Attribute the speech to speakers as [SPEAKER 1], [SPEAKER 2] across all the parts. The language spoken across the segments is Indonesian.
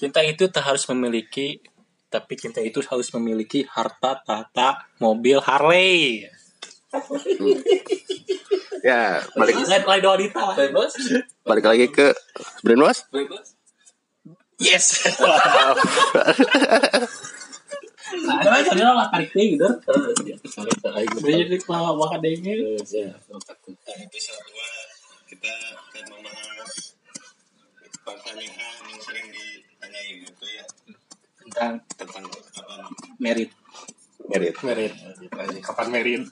[SPEAKER 1] itu tak harus memiliki tapi cinta itu harus memiliki harta tahta mobil Harley
[SPEAKER 2] ya balik
[SPEAKER 1] lain lain doa Dita lah
[SPEAKER 3] Bebas?
[SPEAKER 2] balik lagi ke brainwash
[SPEAKER 3] Bebas?
[SPEAKER 1] yes ada aja dia lah tarik deh gitu jadi kepala banget deh ini
[SPEAKER 4] episode 2 kita akan membahas pertanyaan yang sering ditanyain itu ya
[SPEAKER 1] tentang
[SPEAKER 4] tentang apa
[SPEAKER 1] merit
[SPEAKER 2] merit
[SPEAKER 1] merit
[SPEAKER 2] kapan merit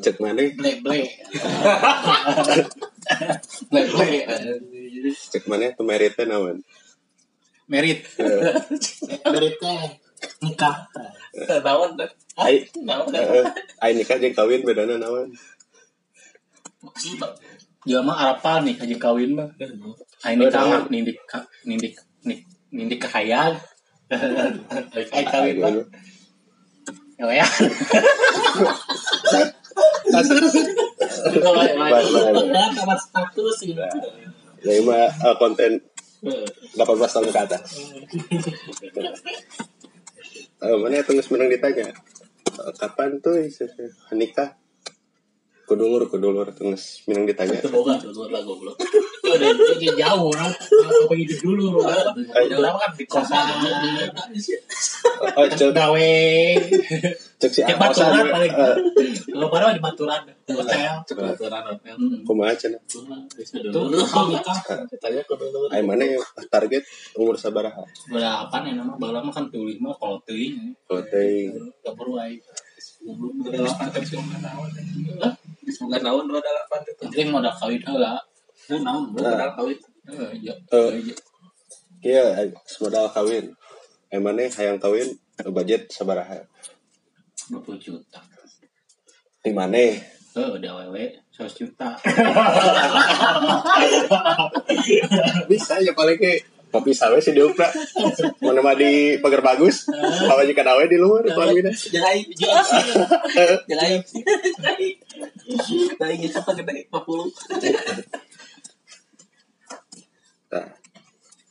[SPEAKER 2] cek mana
[SPEAKER 1] bleh bleh bleh bleh Jadi,
[SPEAKER 2] cek mana tuh meritnya nawan
[SPEAKER 1] merit Iya. meritnya nikah
[SPEAKER 3] Naon dah.
[SPEAKER 2] ai
[SPEAKER 3] Naon dah.
[SPEAKER 2] eh, ai nikah jeung kawin bedana nawan
[SPEAKER 1] Jelema mah arapal nih kaji kawin mah Ayo nikah mah nindik ka- nindik nik- nindik kahayang Ayo kawin mah Oh ya Kalau yang lain,
[SPEAKER 2] Baik, baik,
[SPEAKER 1] ya, kamar status gitu
[SPEAKER 2] ya ini mah eh, konten 18 tahun ke atas Eh, mana itu nggak menang ditanya Eh, kapan tuh nikah kudulur kudulur tuh nggak menang ditanya
[SPEAKER 3] Itu boga tuh luar lah goblok.
[SPEAKER 1] Udah, jadi jauh orang apa gitu dulu orang Orang kan di kosan
[SPEAKER 2] oh, cek,
[SPEAKER 1] gawe
[SPEAKER 2] cek si
[SPEAKER 1] Cek
[SPEAKER 2] Aos
[SPEAKER 1] baturan
[SPEAKER 2] sama,
[SPEAKER 1] paling.
[SPEAKER 2] eh,
[SPEAKER 1] Kalau parah di Baturan di hotel
[SPEAKER 3] Coba aturan hotel.
[SPEAKER 1] Hmm.
[SPEAKER 2] kumaha cenah
[SPEAKER 1] Tuh,
[SPEAKER 3] Dulu.
[SPEAKER 1] kalau nikah
[SPEAKER 3] Tanya ke dulu.
[SPEAKER 2] Ayo mana yang target umur sabaraha?
[SPEAKER 1] berapa nih nama baru mah kan tulis mah kalau tulis
[SPEAKER 2] Kalau teh
[SPEAKER 1] nggak perlu aja
[SPEAKER 3] ya. Semoga naon dua dalapan itu.
[SPEAKER 1] penting modal kawin eh, lah Eh.
[SPEAKER 3] Nah, naon dua dalam kawin. Eh.
[SPEAKER 1] iya.
[SPEAKER 2] iya ay- semodal kawin. Ayo mana hayang kawin budget sabaraha?
[SPEAKER 1] dua puluh juta
[SPEAKER 2] Di mana?
[SPEAKER 1] eh udah wewe seratus juta
[SPEAKER 2] Bisa aja paling ke tapi sawe sih diupra. Mana mah di pagar bagus. Kalau jika dawe di luar di pamina.
[SPEAKER 3] Jangan aib, jangan aib. Jangan aib. Jangan aib. Nah, ini siapa gede? 40.
[SPEAKER 2] Tah.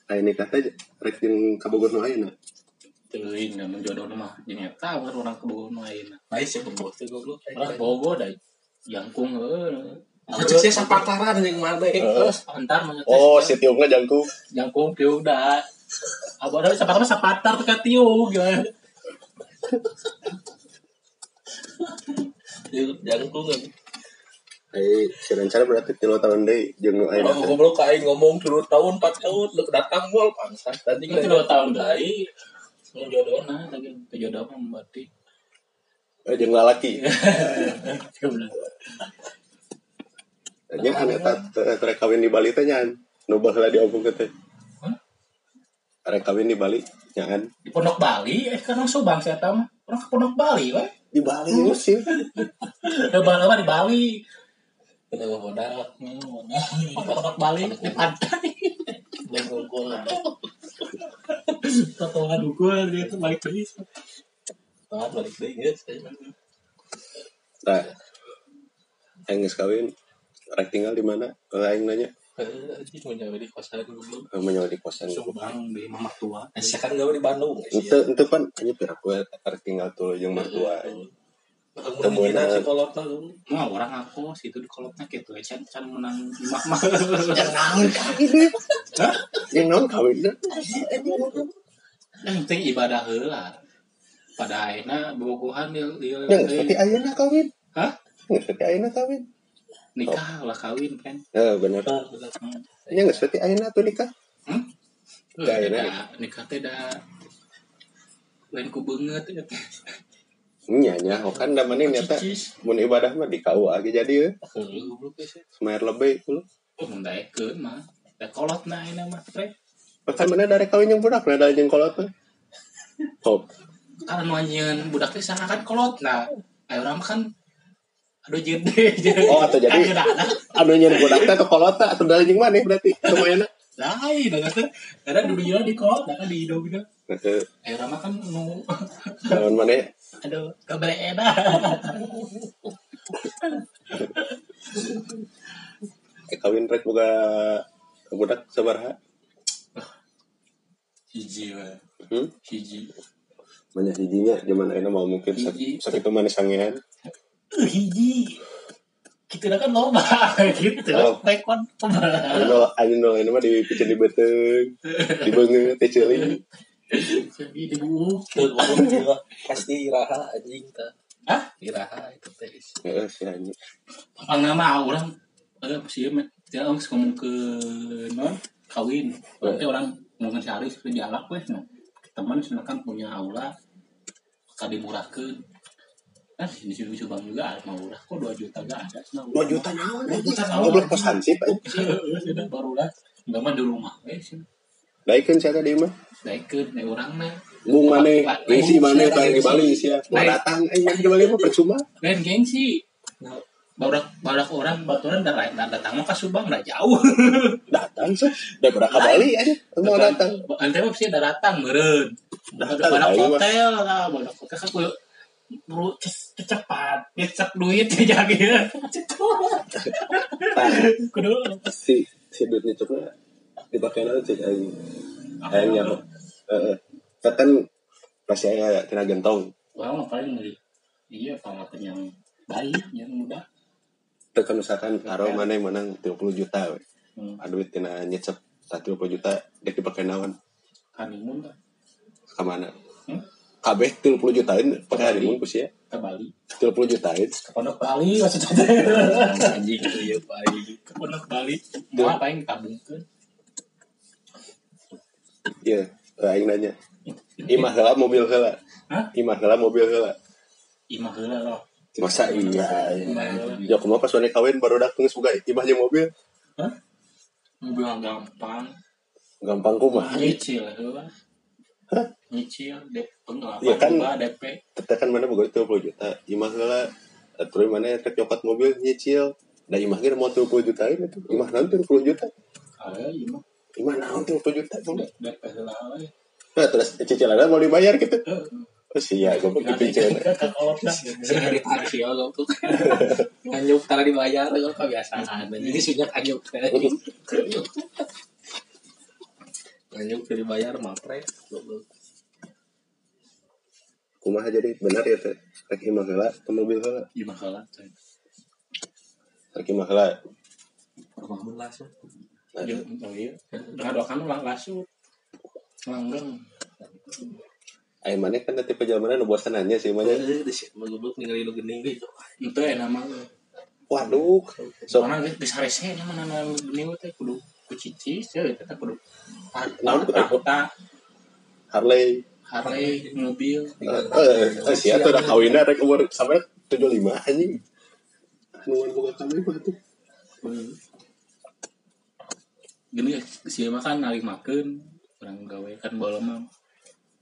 [SPEAKER 2] Ayo nikah aja. Rek jeung kabogor nu ayeuna.
[SPEAKER 1] tulis nggak menjodoh mah jadi tawar orang ke Bogor lain
[SPEAKER 3] Baik sih pembawa tuh goblok.
[SPEAKER 1] orang Bogor dah jangkung eh
[SPEAKER 3] Aku cek sih sapataran yang mana ya.
[SPEAKER 2] Heeh.
[SPEAKER 1] antar mana teh,
[SPEAKER 2] Oh,
[SPEAKER 1] ya.
[SPEAKER 2] si tiungna jangkung.
[SPEAKER 1] jangkung tiup dah abah dah sapatar mah sapatar ke tiup gimana
[SPEAKER 3] Jangkung kan.
[SPEAKER 2] Ayo si rencana berarti tilu tahun deui jeung nu ayeuna.
[SPEAKER 3] Aku goblok kayak ngomong dulu tahun 4 tahun lu datang mall bangsa. Tadi
[SPEAKER 1] itu dua tahun dari menjodoh nah lagi kejodoh mah berarti
[SPEAKER 2] Eh, Jeung lalaki. Nya kan eta rek kawin di Bali teh nyaan. Nu baheula diomongkeun teh.
[SPEAKER 1] Hah?
[SPEAKER 2] Rek kawin di Bali nyaan.
[SPEAKER 1] di Pondok Bali eh sekarang Subang saya tahu mah. orang ke Pondok Bali weh
[SPEAKER 2] Di Bali sih.
[SPEAKER 1] ke Bali apa di Bali
[SPEAKER 3] Kena modal.
[SPEAKER 1] Pondok Bali di pantai
[SPEAKER 3] Menggongkol.
[SPEAKER 1] potongan ukur dia tuh balik terus
[SPEAKER 3] Nah, balik deh guys.
[SPEAKER 2] Nah, aing geus kawin. Rek tinggal di mana? Eh, Aing nanya.
[SPEAKER 3] Anjing mau nyawa di kosan goblok.
[SPEAKER 2] Eh, Mau nyawa di kosan.
[SPEAKER 1] Subang di mama tua
[SPEAKER 3] Saya kan gawe di Bandung.
[SPEAKER 2] Ente ente pan anya pira gue rek tinggal tuluy jeung mertua.
[SPEAKER 3] Temu di nasi kolot tuh.
[SPEAKER 1] mah orang aku situ di kolotnya gitu ya can can menang imah mah
[SPEAKER 2] Jeung naon kawin deh?
[SPEAKER 1] yang penting ibadah heula pada akhirnya bobogohan dia dia
[SPEAKER 2] Ya geus pati ayeuna kawin.
[SPEAKER 1] Hah?
[SPEAKER 2] Geus pati ayeuna kawin.
[SPEAKER 1] nikah lah kawin kan Hmm.
[SPEAKER 2] Eh, bener. Ya geus pati ayeuna tuh nikah.
[SPEAKER 1] Udah,
[SPEAKER 2] Dah,
[SPEAKER 1] dah.
[SPEAKER 2] dah.
[SPEAKER 1] nikah teh dah lain ku banget ya teh.
[SPEAKER 2] Nya nya hokan da mana nya teh.
[SPEAKER 1] Cicis.
[SPEAKER 2] Mun ibadah mah di KUA ge jadi ya.
[SPEAKER 1] Heeh, goblok geus ya.
[SPEAKER 2] Semayar lebih dulu.
[SPEAKER 1] Oh, mun daekeun mah. Da kolot na ayeuna mah teh.
[SPEAKER 2] Bahkan mana dari kawin yang budak, mana dari yang kolot mah. Hop.
[SPEAKER 1] Karena nu anjeun budak teh sana kan kolot na. Aya urang mah kan aduh jede.
[SPEAKER 2] Oh, atau jadi- Anu yang budak teh atau kolot teh atau dari yang mana berarti? Semuanya.
[SPEAKER 1] lain da teh. Ada dunia di kolot da kan di hidung gitu.
[SPEAKER 2] Heeh.
[SPEAKER 1] Aya urang mah kan nu
[SPEAKER 2] Lawan mana? ya?
[SPEAKER 1] aduh eh, kabare enak.
[SPEAKER 2] Eh, Kawin rek boga budak sabaraha.
[SPEAKER 1] hiji we
[SPEAKER 2] Hmm?
[SPEAKER 1] hiji
[SPEAKER 2] Banyak hijinya zaman enak mau mungkin
[SPEAKER 1] Hiji.
[SPEAKER 2] sakit itu manis sangean.
[SPEAKER 1] Eh, hiji kita kan loba gitu
[SPEAKER 2] Oh.
[SPEAKER 1] rekon
[SPEAKER 2] Ayo nol, ayo nol, ini mah dipikir di beteng, di bengeut, teh ceuling.
[SPEAKER 1] jadi dibuuk
[SPEAKER 3] Tuh, ngomong jiwa. Iya, Pasti iraha anjing tah.
[SPEAKER 1] Hah?
[SPEAKER 3] Iraha itu teh.
[SPEAKER 2] Heeh, si anjing.
[SPEAKER 1] Pang nama orang ada sih ya, dia orang ngomong ke non kawin. Nanti orang ngomongin si Aris ke dialog weh. nah. Teman sana kan punya aula kadi murahkeun. Nah, di sini Subang juga ada mau murah kok 2 juta gak ada. Nah,
[SPEAKER 2] Dua juta nyawa,
[SPEAKER 1] Dua juta nyawa.
[SPEAKER 2] Goblok kos hansip, anjing.
[SPEAKER 1] baru lah. Enggak mah di rumah weh sih.
[SPEAKER 2] Daikeun siapa dia mah?
[SPEAKER 1] Daikeun nya urang mah.
[SPEAKER 2] Bung mana,
[SPEAKER 1] Pak- Pak-
[SPEAKER 2] ngisi mana,
[SPEAKER 1] Pak-
[SPEAKER 2] bareng di Bali sia. Mau
[SPEAKER 1] Baik.
[SPEAKER 2] datang, eh yang di Bali mah percuma.
[SPEAKER 1] Lain gengsi. Nah, Barak barak orang baturan dan datang mah ke Subang lah jauh.
[SPEAKER 2] Datang sih, daripada ke Bali aja, mau datang.
[SPEAKER 1] Ente mah pasti datang meureun.
[SPEAKER 2] Datang,
[SPEAKER 1] Badak
[SPEAKER 2] ayo, Mas.
[SPEAKER 1] hotel lah, badak hotel kan kudu perlu ces- cepat, cecep duit aja gitu.
[SPEAKER 2] Tah,
[SPEAKER 1] Kudu
[SPEAKER 2] si si duitnya cuma dipakai nanti cek aing.
[SPEAKER 1] Eh,
[SPEAKER 2] Aing nyaho. Heeh. Katan pasti aing aya tina gentong.
[SPEAKER 1] orang mah paling dari iya pangatan yang baik, yang mudah.
[SPEAKER 2] Tekan kan misalkan karo mana yang menang 30 juta we.
[SPEAKER 1] Iya. Hmm,
[SPEAKER 2] Aduit tina nyecep 30 juta dia dipakai naon?
[SPEAKER 1] honeymoon lah,
[SPEAKER 2] Ka mana?
[SPEAKER 1] Hmm?
[SPEAKER 2] Kabeh 30 jutain
[SPEAKER 1] Ke
[SPEAKER 2] pakai
[SPEAKER 1] Bali.
[SPEAKER 2] honeymoon ku sia.
[SPEAKER 1] ke Bali.
[SPEAKER 2] 30 jutain.
[SPEAKER 1] Ke Pondok Bali maksudnya. teh.
[SPEAKER 3] Anjing itu ya Pak anjing.
[SPEAKER 1] Ke Pondok Bali. Mau apa yang ditabungkeun?
[SPEAKER 2] Iya, eh, aing nanya. Imah heula mobil heula.
[SPEAKER 1] Hah?
[SPEAKER 2] Imah heula mobil heula.
[SPEAKER 1] Imah heula loh.
[SPEAKER 2] Masa iya.
[SPEAKER 1] Imah heula.
[SPEAKER 2] Ya kumaha pas wanita kawin baru datang semoga imah jeung mobil.
[SPEAKER 1] Hah? Mobil yang gampang.
[SPEAKER 2] Gampang kumaha.
[SPEAKER 1] nyicil heula nyicil DP enggak
[SPEAKER 2] Ya kan.
[SPEAKER 1] apa DP
[SPEAKER 2] Kita kan mana boga 30 juta. Imah heula atuh mana rek nyokot mobil nyicil. Da imah ge mau 30 juta ini tuh. Imah naon 30 juta?
[SPEAKER 1] ada imah
[SPEAKER 2] Imah naon 30 juta?
[SPEAKER 1] D- DP heula we
[SPEAKER 2] Nah, terus cicilannya mau dibayar gitu.
[SPEAKER 1] Heeh.
[SPEAKER 2] Oh sia, goblok dipicen.
[SPEAKER 1] Kita kolotna.
[SPEAKER 3] Sehari taksi ya kau tuh. Anjuk tara dibayar kau kebiasaan. Jadi sejak anjuk teh. Anjuk teh Kan dibayar matre.
[SPEAKER 2] Kumaha jadi benar ya teh. Rek imah heula ke mobil heula.
[SPEAKER 1] imah heula teh.
[SPEAKER 2] Rek imah heula.
[SPEAKER 3] Bangun langsung.
[SPEAKER 2] Nah,
[SPEAKER 1] Jeung oh ieu ngadokan ulang langsung langgeng
[SPEAKER 2] Ayo mana kan nanti perjalanan nu bosanannya sih mana.
[SPEAKER 3] Di sini goblok ningali lu gening gitu.
[SPEAKER 1] itu ya enak mah
[SPEAKER 2] Waduh, sok
[SPEAKER 1] soalnya geus geus harese nya mana nanu geuning teh kudu kucicis ya eta teh kudu
[SPEAKER 2] Naon kudu?
[SPEAKER 1] harta
[SPEAKER 2] Harley.
[SPEAKER 1] Harley mobil
[SPEAKER 2] Eh, eh, eh, sia tuh udah kawinnya rek umur sampai 75 anjing. Anu, Nuan boga kami mah tuh.
[SPEAKER 1] gini sih mah kan nari makan orang gawe kan bola mah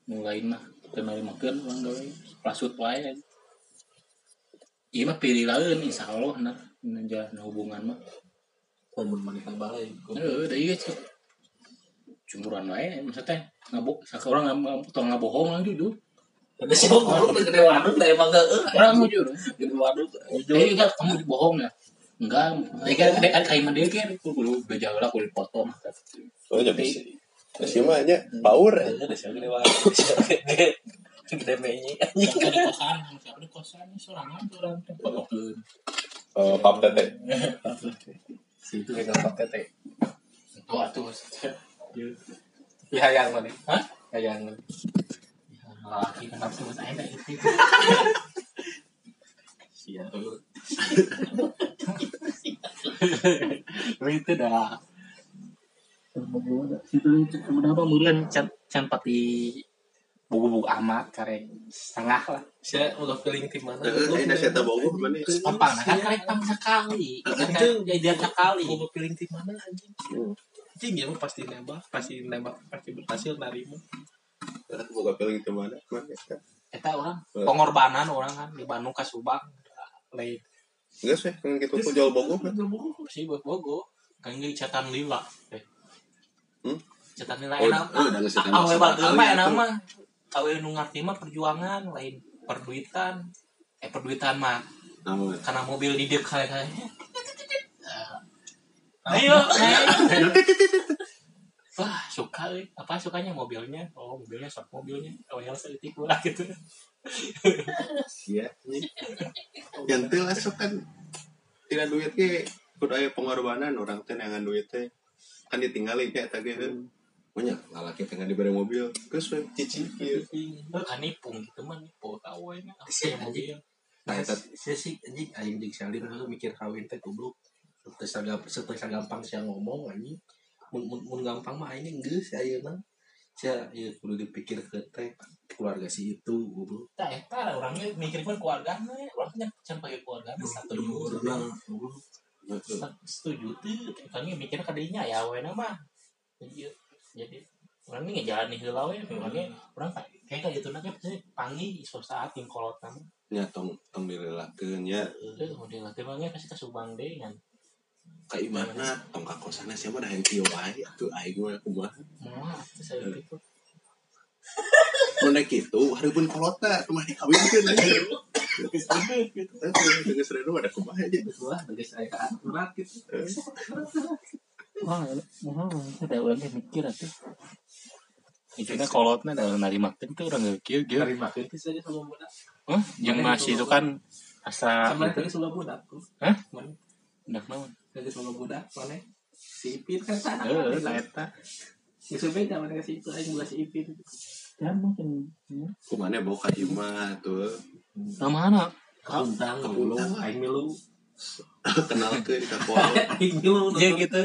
[SPEAKER 1] mulai mah teu nari makan orang gawe plasut wae iya mah pilih lain insya Allah nah nah, jalan hubungan mah
[SPEAKER 3] Momen manekan
[SPEAKER 1] eh
[SPEAKER 3] balai.
[SPEAKER 1] udah iya sih cumuran wae maksudnya ngabuk saka orang ngabuk tong ngabohong lah jujur
[SPEAKER 3] Ada siapa goblok teu gede waduk teh emang geueuh.
[SPEAKER 1] orang jujur
[SPEAKER 3] Gede waduk.
[SPEAKER 1] eh enggak kamu bohong ya enggak dekan dekan kayak dia kan kudu bejaga lah kudu potong
[SPEAKER 2] Oh, jadi sih. Masih mah nya power. eh.
[SPEAKER 3] Ada siapa gede waduk. Ada siapa Gede gede menyi.
[SPEAKER 1] Siapa kan di kosan, siapa di kosan, ini sorangan tuh orang tuh. Bageun.
[SPEAKER 2] Eh, pap tete.
[SPEAKER 3] Situ megang pak tete.
[SPEAKER 1] Itu atuh.
[SPEAKER 3] Di hayang mana?
[SPEAKER 1] Hah?
[SPEAKER 3] Hayang mana?
[SPEAKER 1] Laki kenapa tuh saya kayak gitu?
[SPEAKER 3] Sia.
[SPEAKER 1] Itu dah. Itu itu kenapa murian can can pati buku-buku amat karek setengah lah.
[SPEAKER 3] Sia ulah feeling tim mana?
[SPEAKER 2] Ini nasihat bogo mana?
[SPEAKER 1] Apa nah kan karek tang sekali. Kan
[SPEAKER 3] Anjing.
[SPEAKER 1] jadi dia sekali.
[SPEAKER 3] Gue pilih tim mana anjing? Anjing ya mah pasti nembak, pasti nembak, pasti berhasil narimu.
[SPEAKER 2] Aku boga piling ke mana? Mana?
[SPEAKER 1] Eta orang pengorbanan orang kan di Bandung ke Subang. Lain
[SPEAKER 2] Enggak sih, kan gitu aku jual bogo kan.
[SPEAKER 1] sih buat bogo. Kan ini catatan lila. Eh,
[SPEAKER 2] Hmm?
[SPEAKER 1] Catatan lila
[SPEAKER 2] Oh,
[SPEAKER 1] enak. Ah,
[SPEAKER 2] oh, udah ngasih tambah
[SPEAKER 1] Awe
[SPEAKER 2] sama
[SPEAKER 1] bagel
[SPEAKER 2] kali
[SPEAKER 1] mah
[SPEAKER 2] itu.
[SPEAKER 1] enak mah. Awe ya, nu ngarti mah perjuangan lain perduitan. Eh perduitan mah
[SPEAKER 2] Namun.
[SPEAKER 1] karena mobil di deuk kali kali. Ayo, ayo. eh. wah suka eh. apa sukanya mobilnya oh mobilnya sok mobilnya oh ya selitik lah gitu
[SPEAKER 2] Iya. Yang teh langsung kan tidak duit ke kudu aya pengorbanan orang teh nangan duit teh kan ditinggalin kayak tadi itu. Banyak lalaki pengen diberi mobil, geus we cici ieu.
[SPEAKER 1] Lu kan nipung gitu mah nipu kawin
[SPEAKER 3] Iya,
[SPEAKER 1] apa ya mobil
[SPEAKER 2] Nah, eta
[SPEAKER 3] Saya iya sih anjing aing jeung Salim dulu mikir kawin teh goblok. Setesa gampang, setesa gampang sia ngomong anjing. Mun mun, mun gampang mah aing geus ayeuna. Sia ieu kudu dipikir ke teh keluarga si itu goblok.
[SPEAKER 1] tak eta orangnya mikirin keluarganya orangnya can pakai keluarganya satu juta
[SPEAKER 3] Orang goblok.
[SPEAKER 1] setuju tuh kami mikirnya kadinya ya wena mah jadi jadi orang ini ngejalan nih heula we orangnya orang tak- kayak kayak gitu nanti pasti pangi isu saat yang kolot nama
[SPEAKER 2] nya tong tong dilelakeun nya
[SPEAKER 1] eh model laki mangnya pasti kesubang deh kan
[SPEAKER 2] ka imahna tong ka kosana siapa dah henteu wae atuh aing mah kumaha.
[SPEAKER 1] mau itu saya pikir
[SPEAKER 2] Mun rek kitu hareupeun kolota rumah dikawinkeun anjing. Geus geus reno ada kumaha aja.
[SPEAKER 3] Wah, geus aya ka aturan gitu.
[SPEAKER 1] wah wah ada orang yang mikir atuh itu kan kolotnya ada orang nari makan tuh orang mikir gitu
[SPEAKER 3] Terima kasih saja sama budak.
[SPEAKER 1] Hah? yang masih itu kan asa
[SPEAKER 3] Sama tadi sama budak. tuh.
[SPEAKER 1] Hah?
[SPEAKER 3] Mana?
[SPEAKER 1] udah naon
[SPEAKER 3] Tadi sama budak, mana? Si Ipin kan sana.
[SPEAKER 1] eh eh, tak
[SPEAKER 3] kan, gitu.
[SPEAKER 1] eta
[SPEAKER 3] Si Supin sama dengan si itu aing bukan si Ipin.
[SPEAKER 1] ya mungkin
[SPEAKER 2] Kumane bawa ka imah tuh.
[SPEAKER 1] nama anak
[SPEAKER 2] Kepuntang.
[SPEAKER 3] Kepuntang, goblok. aing milu.
[SPEAKER 2] Kenalkeun ka kuaon.
[SPEAKER 3] Aing milu.
[SPEAKER 1] ya gitu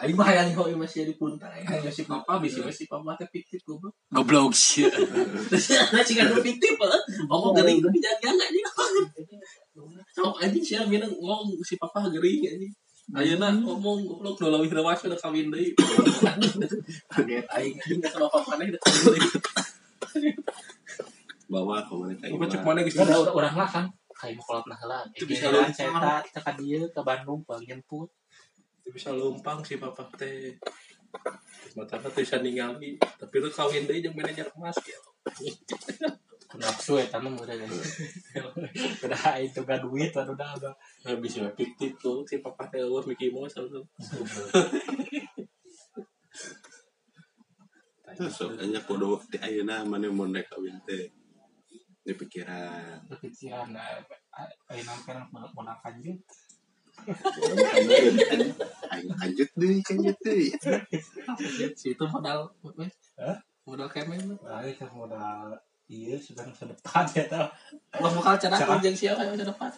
[SPEAKER 3] Aing mah hayang kok masih di puntang. Aing Iya. hayang si papa bisi we si papa teh fiktif goblok.
[SPEAKER 1] goblok sih
[SPEAKER 3] Terus ana sih kan fiktif heeh. Omong geuning tapi jangan anjing. Sok anjing sia minang ngomong si papa geuning anjing. Ayeuna omong goblok nu leuwih rewas udah kawin deui. Kaget aing anjing da sama papa maneh udah kawin deui.
[SPEAKER 2] bawa ke mana
[SPEAKER 3] Coba cek
[SPEAKER 2] kayak
[SPEAKER 3] mana geus
[SPEAKER 1] Ya
[SPEAKER 3] tinggal.
[SPEAKER 1] udah udah orang lah kan. Kayak mau kolot lah lah.
[SPEAKER 3] Itu
[SPEAKER 1] Itu
[SPEAKER 3] bisa
[SPEAKER 1] bisa
[SPEAKER 3] lu-
[SPEAKER 1] cetak kita ke dia ke Bandung bang jemput.
[SPEAKER 3] bisa lumpang si papa teh. Mata teh bisa ningali, tapi lu kawin deui jeung manajer emas ya.
[SPEAKER 1] Nafsu ya tamu udah guys. Udah itu gak duit lah udah udah.
[SPEAKER 3] Habis ya fiktif tuh si papa teh eueuh Mickey Mouse tuh.
[SPEAKER 2] sok banyak podo di ayeuna mana mun rek kawin teh di pikiran
[SPEAKER 1] Pikiran eh, ayo nangkan mau nangkan gitu.
[SPEAKER 2] aing lanjut deui lanjut deui
[SPEAKER 3] si itu modal weh,
[SPEAKER 1] Hah?
[SPEAKER 3] modal kemen
[SPEAKER 1] Ayo kan modal iya sudah masa depan ya tau.
[SPEAKER 3] Wah bakal cara
[SPEAKER 1] Siapa?
[SPEAKER 3] kerja siapa yang depan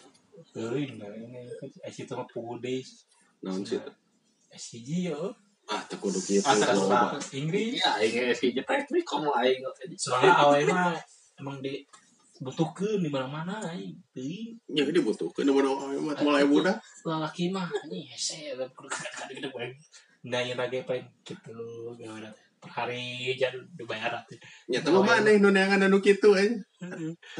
[SPEAKER 1] Tuh nah ini kan eh, situ mah pudes.
[SPEAKER 2] naon sih
[SPEAKER 1] SCG yo.
[SPEAKER 2] ah teu kudu kitu
[SPEAKER 1] Asal
[SPEAKER 2] loba
[SPEAKER 1] Inggris.
[SPEAKER 3] iya ini si jetek nih kamu aing
[SPEAKER 1] Soalnya awalnya emang di butuhkan di mana-mana aing. Teuing.
[SPEAKER 2] nya ini butuhkeun mun awet mulai budak
[SPEAKER 1] lalaki mah ini eh, hese kadang-kadang gede banget nah yang lagi apa gitu gimana teh. per hari jangan dibayar tuh
[SPEAKER 2] nya teh mah maneh nu neangan anu kitu aja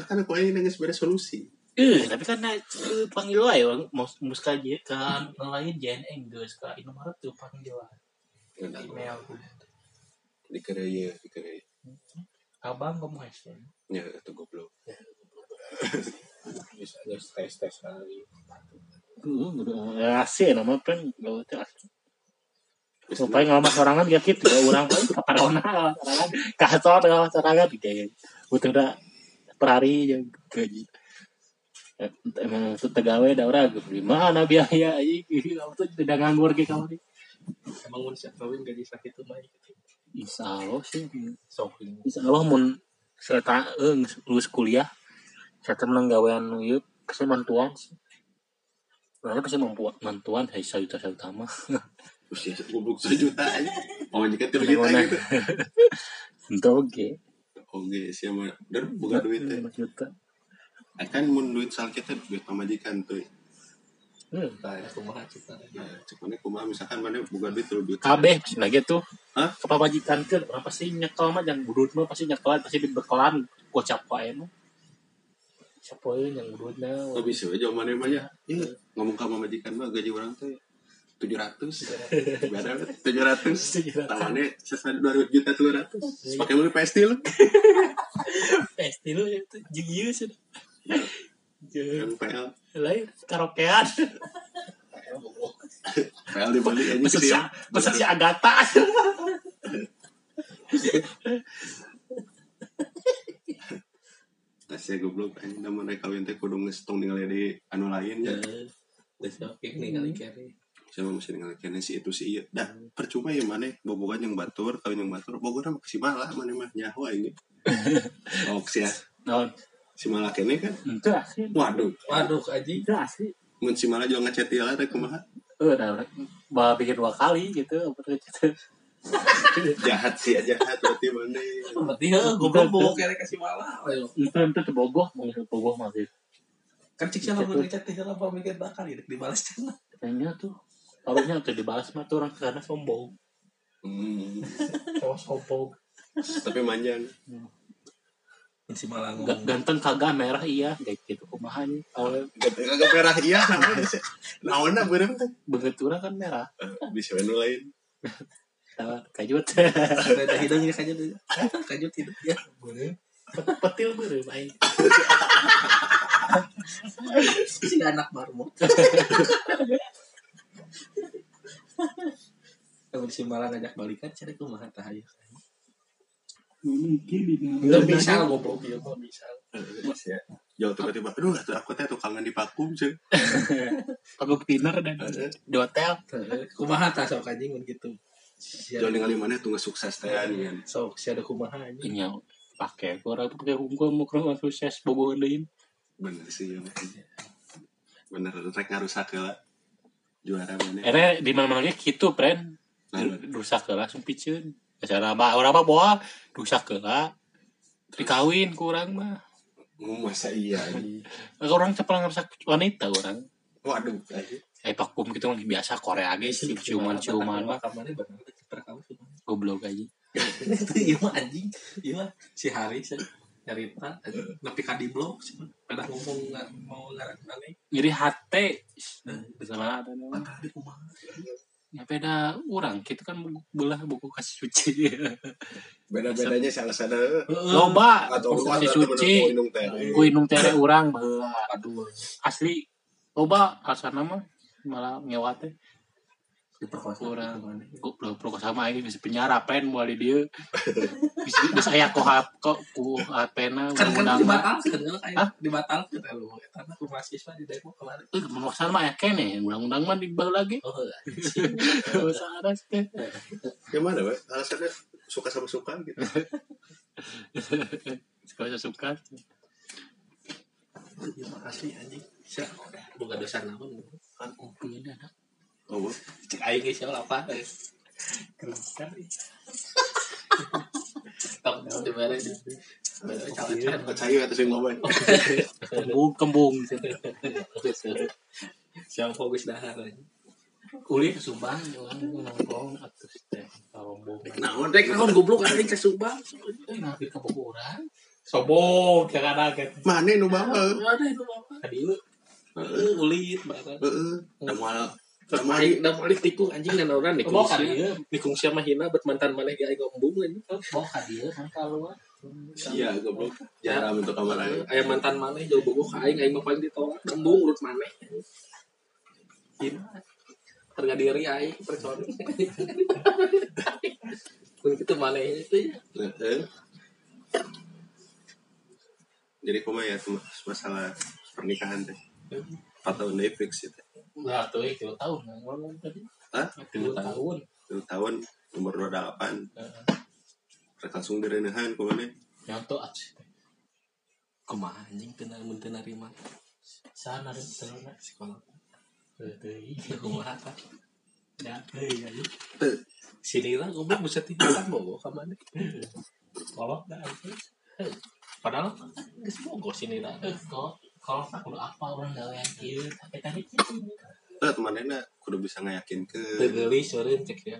[SPEAKER 2] kan aku aing geus bere solusi
[SPEAKER 1] eh tapi kan nah eh, panggil lah ya mau muska aja kan lain jangan enggus ke Indomaret tuh panggil lah
[SPEAKER 2] Iya,
[SPEAKER 1] email
[SPEAKER 2] dikereuyeuh dikereuyeuh
[SPEAKER 1] abang kamu eh, hese
[SPEAKER 2] nya itu ya, goblok
[SPEAKER 3] bisa guys tes tes kali
[SPEAKER 1] Asih nama kan gak betul Supaya ngalaman sorangan gak gitu ya Orang pun kaparona ngalaman sorangan Kasor ngalaman sorangan Kayak butuh udah per hari aja gaji Eh, Emang itu tegawe dah orang Gimana biaya Ih, gini, Kamu tuh tidak nganggur kayak kamu nih
[SPEAKER 3] emang mun siap kawin gaji sakit tuh mah
[SPEAKER 1] Insya Allah sih
[SPEAKER 3] shopping
[SPEAKER 1] Insya Allah mun Saya tak eh, lulus kuliah Saya tak menang gawean Yuk Kasih mantuan sih Nah, kasih mampu- mantuan Hei sayuta sayuta mah
[SPEAKER 2] terus ya goblok sejuta aja oh nya kan 3 juta
[SPEAKER 1] Mana-mana.
[SPEAKER 2] gitu
[SPEAKER 1] Itu oke
[SPEAKER 2] oge sia mah dan bukan duit
[SPEAKER 1] Iya,
[SPEAKER 2] teh
[SPEAKER 1] Lima juta.
[SPEAKER 2] akan Eh, kan mun duit salkitnya duit pamajikan tuh
[SPEAKER 1] Hmm.
[SPEAKER 2] Ah,
[SPEAKER 3] nah
[SPEAKER 2] ya.
[SPEAKER 3] aku mah cita
[SPEAKER 2] Cuman kumaha misalkan mana bukan duit terlalu duit.
[SPEAKER 1] Kabeh sih lagi tuh.
[SPEAKER 2] Hah?
[SPEAKER 1] Kepabajikan ke orang pasti nyekel mah yang budut mah pasti nyekelan pasti di bekelan gocap wae mah. Siapa euy yang budutna?
[SPEAKER 2] Oh bisa aja mana emangnya. Iya, ngomong ke majikan mah gaji orang teh 700. Berapa? 700.
[SPEAKER 1] 700.
[SPEAKER 2] Tamannya sesat 2 juta 200. Pakai beli PS lu.
[SPEAKER 1] Pasti lu Eh, ya, itu jeung ieu sih.
[SPEAKER 2] Yang PL.
[SPEAKER 1] Lain karaokean.
[SPEAKER 2] Real di Bali aja
[SPEAKER 1] Masa si,
[SPEAKER 2] gitu ya.
[SPEAKER 1] masa si Agatha.
[SPEAKER 2] Tasnya Nah, goblok anjing nama rek kawin teh kudu ngestong ningali di anu lain ya.
[SPEAKER 3] Terus oke nih kali kere.
[SPEAKER 2] Siapa masih ningali kene si itu si iya. Dah percuma ya mana bobogan yang batur kawin yang batur Bogor mah si malah mana mah nyaho ini. Oks ya.
[SPEAKER 1] Non,
[SPEAKER 2] Si malah kene kan.
[SPEAKER 1] itu asli.
[SPEAKER 2] Waduh.
[SPEAKER 3] Waduh kaji.
[SPEAKER 1] Itu asli.
[SPEAKER 2] Mun si malah juga ngechat dia lah rek kumaha.
[SPEAKER 1] Eh, udah, udah. Bah, bikin dua kali gitu. apa gitu.
[SPEAKER 2] Jahat sih aja jahat berarti mana.
[SPEAKER 3] Berarti heh goblok bobo kere kasih malah. Ayo.
[SPEAKER 1] Itu itu bogoh, mau bogoh masih.
[SPEAKER 3] Kan cik siapa ngechat teh lah pamikir bakal ya dibalas cenah.
[SPEAKER 1] Kayaknya tuh. Harusnya tuh dibalas mah tuh orang karena sombong.
[SPEAKER 2] Hmm,
[SPEAKER 3] Cowok sombong.
[SPEAKER 2] tapi manjan.
[SPEAKER 3] Si malah
[SPEAKER 1] Ga-
[SPEAKER 2] Hmm.
[SPEAKER 3] ngomong.
[SPEAKER 1] Ganteng kagak merah iya, kayak gitu kumahan. Awalnya
[SPEAKER 2] Gak perah iya namanya. sih. Naonna beureum teh.
[SPEAKER 1] bengetura kan merah.
[SPEAKER 2] Bisa anu lain.
[SPEAKER 1] Nah, kajut.
[SPEAKER 3] Ada hidungnya kajut. Kajut hidup ya. Boleh.
[SPEAKER 1] Petil beureum aing.
[SPEAKER 3] Si anak marmut. Kalau si malah ngajak balikan cari kumaha tah ayo.
[SPEAKER 1] Mungkin
[SPEAKER 3] Nggak bisa goblok ya, nggak bisa.
[SPEAKER 2] Mas ya. Jauh tiba-tiba, aduh atuh aku teh tukangan di pakum sih.
[SPEAKER 1] Aku dinner dan di hotel.
[SPEAKER 3] Teh, Kumaha tah sok anjing mun gitu. Si
[SPEAKER 2] Jauh
[SPEAKER 3] ada-
[SPEAKER 2] ningali mana tuh sukses teh
[SPEAKER 3] Iya.
[SPEAKER 2] kan.
[SPEAKER 3] Sok si ada kumaha anjing.
[SPEAKER 1] Iya, pakai aku orang pakai hukum mau kurang langsung ses bobo lain.
[SPEAKER 2] Bener sih ya.
[SPEAKER 3] Iya.
[SPEAKER 2] Bener rek ngarusak lah. Juara mana?
[SPEAKER 1] Ere di mana mana gitu, pren.
[SPEAKER 3] Iya.
[SPEAKER 2] Nah,
[SPEAKER 1] Rusak ke langsung piceun. Biasanya mah orang mah boa rusak ke lah. Dikawin kurang mah.
[SPEAKER 2] oh, masa iya.
[SPEAKER 1] Orang cepet ngerusak wanita orang.
[SPEAKER 2] Waduh, aja.
[SPEAKER 1] Eh vakum gitu mah biasa Korea guys, ciuman-ciuman mah
[SPEAKER 3] Kamarnya bener kiper kamu cuma.
[SPEAKER 1] goblok aja.
[SPEAKER 3] Itu ieu mah anjing. Ieu mah si Haris eh, nyarita anjing. nepi ka di blok sih. Pada ngomong nggak mau ngaran aneh.
[SPEAKER 1] Jadi hate besalah
[SPEAKER 3] Mata di kumaha.
[SPEAKER 1] Ya beda orang, kita kan belah buku kasih suci.
[SPEAKER 2] Beda-bedanya sih alasannya.
[SPEAKER 1] Loba
[SPEAKER 2] Atau
[SPEAKER 1] buku
[SPEAKER 2] lu
[SPEAKER 1] kasih
[SPEAKER 2] atau
[SPEAKER 1] suci.
[SPEAKER 2] temen minum teh.
[SPEAKER 3] Iya.
[SPEAKER 2] Iya.
[SPEAKER 1] Kui nung tere urang baheula. Aduh. Asli loba asana mah malah nyewa teh
[SPEAKER 3] Diperkosa.
[SPEAKER 1] Kurang.
[SPEAKER 3] gitu, aneh.
[SPEAKER 1] goblok pro sama aing bisa penjara pen moal di dieu. Bisa bisa aya ku hap ko ku hapena
[SPEAKER 3] Kan kan
[SPEAKER 1] undang-undang.
[SPEAKER 3] dibatalkeun kan kayak
[SPEAKER 1] Hah?
[SPEAKER 3] dibatalkeun elu. Eta mah ku mahasiswa di Depok kemarin.
[SPEAKER 1] Eh, pemaksa mah ya kene, undang-undang mah dibawa lagi.
[SPEAKER 3] Oh,
[SPEAKER 1] Bahasa Arab teh.
[SPEAKER 2] Gimana, Pak? Alasannya suka sama suka gitu.
[SPEAKER 1] Suka suka.
[SPEAKER 3] iya makasih anjing. Sia, boga dosa naon. Kan
[SPEAKER 1] Pengen ada.
[SPEAKER 2] Oh, wah.
[SPEAKER 3] cek aing geus siapa apa. Kenapa? Tong tong dibere di. Bere calon-calon.
[SPEAKER 2] percaya atas yang ngomong.
[SPEAKER 1] Kembung kembung.
[SPEAKER 3] Siapa geus dahar anjing.
[SPEAKER 1] Kulit sumbang orang nongkrong atus teh rombongan.
[SPEAKER 2] Nah,
[SPEAKER 3] Rek naon goblok anjing ke Subang.
[SPEAKER 1] Eh, nanti ke Bogoran.
[SPEAKER 3] Sobong
[SPEAKER 1] ya kan,
[SPEAKER 3] jangan kaget.
[SPEAKER 2] mana nu bawa?
[SPEAKER 3] Ada itu apa? Tadi lu ulit barang.
[SPEAKER 2] Heeh. Da moal. Da moal
[SPEAKER 3] Aing da malik tikung anjing dan orang nikung
[SPEAKER 1] Bawa ka
[SPEAKER 3] sia.
[SPEAKER 1] dieu.
[SPEAKER 3] Nikung sia mah hina bet mantan maneh ge aing ngombung anjing.
[SPEAKER 1] Bawa ka dieu kan keluar.
[SPEAKER 2] Iya, goblok. Jarang untuk kamar aing.
[SPEAKER 3] Aya ya? mantan maneh jauh bogoh ka aing aing mah paling ditolak ngombung urut maneh. Hina. Harga Iya. diri aing percaya. Kun kitu maneh itu ya.
[SPEAKER 2] Heeh. Jadi kumaha ya tuh masalah pernikahan teh. 4 tahun dari fix itu.
[SPEAKER 1] Nah, tuh
[SPEAKER 3] ya,
[SPEAKER 1] eh, tilu tahun kan ngomong tadi.
[SPEAKER 2] Hah?
[SPEAKER 1] Tilu tahun.
[SPEAKER 2] 2 tahun umur 28. Rek langsung direnehan kumaha
[SPEAKER 1] Nyonto atus teh.
[SPEAKER 3] Kumaha anjing teu na- mun teu narima
[SPEAKER 1] Sana ada telurna.
[SPEAKER 3] sekolah.
[SPEAKER 1] Tuh, tuh, ih.
[SPEAKER 3] Teu iya. Kumaha tah?
[SPEAKER 1] Ya, tuh,
[SPEAKER 3] iya,
[SPEAKER 1] ya, ya.
[SPEAKER 3] Sini lah goblok buset tiduran bogoh ka maneh.
[SPEAKER 1] Kolot dah, anjing.
[SPEAKER 3] Padahal geus bogoh sini lah.
[SPEAKER 1] Eh, kok kolot aku udah apa orang gawean ieu tapi tadi gitu.
[SPEAKER 2] Teh temannya kudu bisa ngayakin ke
[SPEAKER 3] Tegelis seureun cek dia.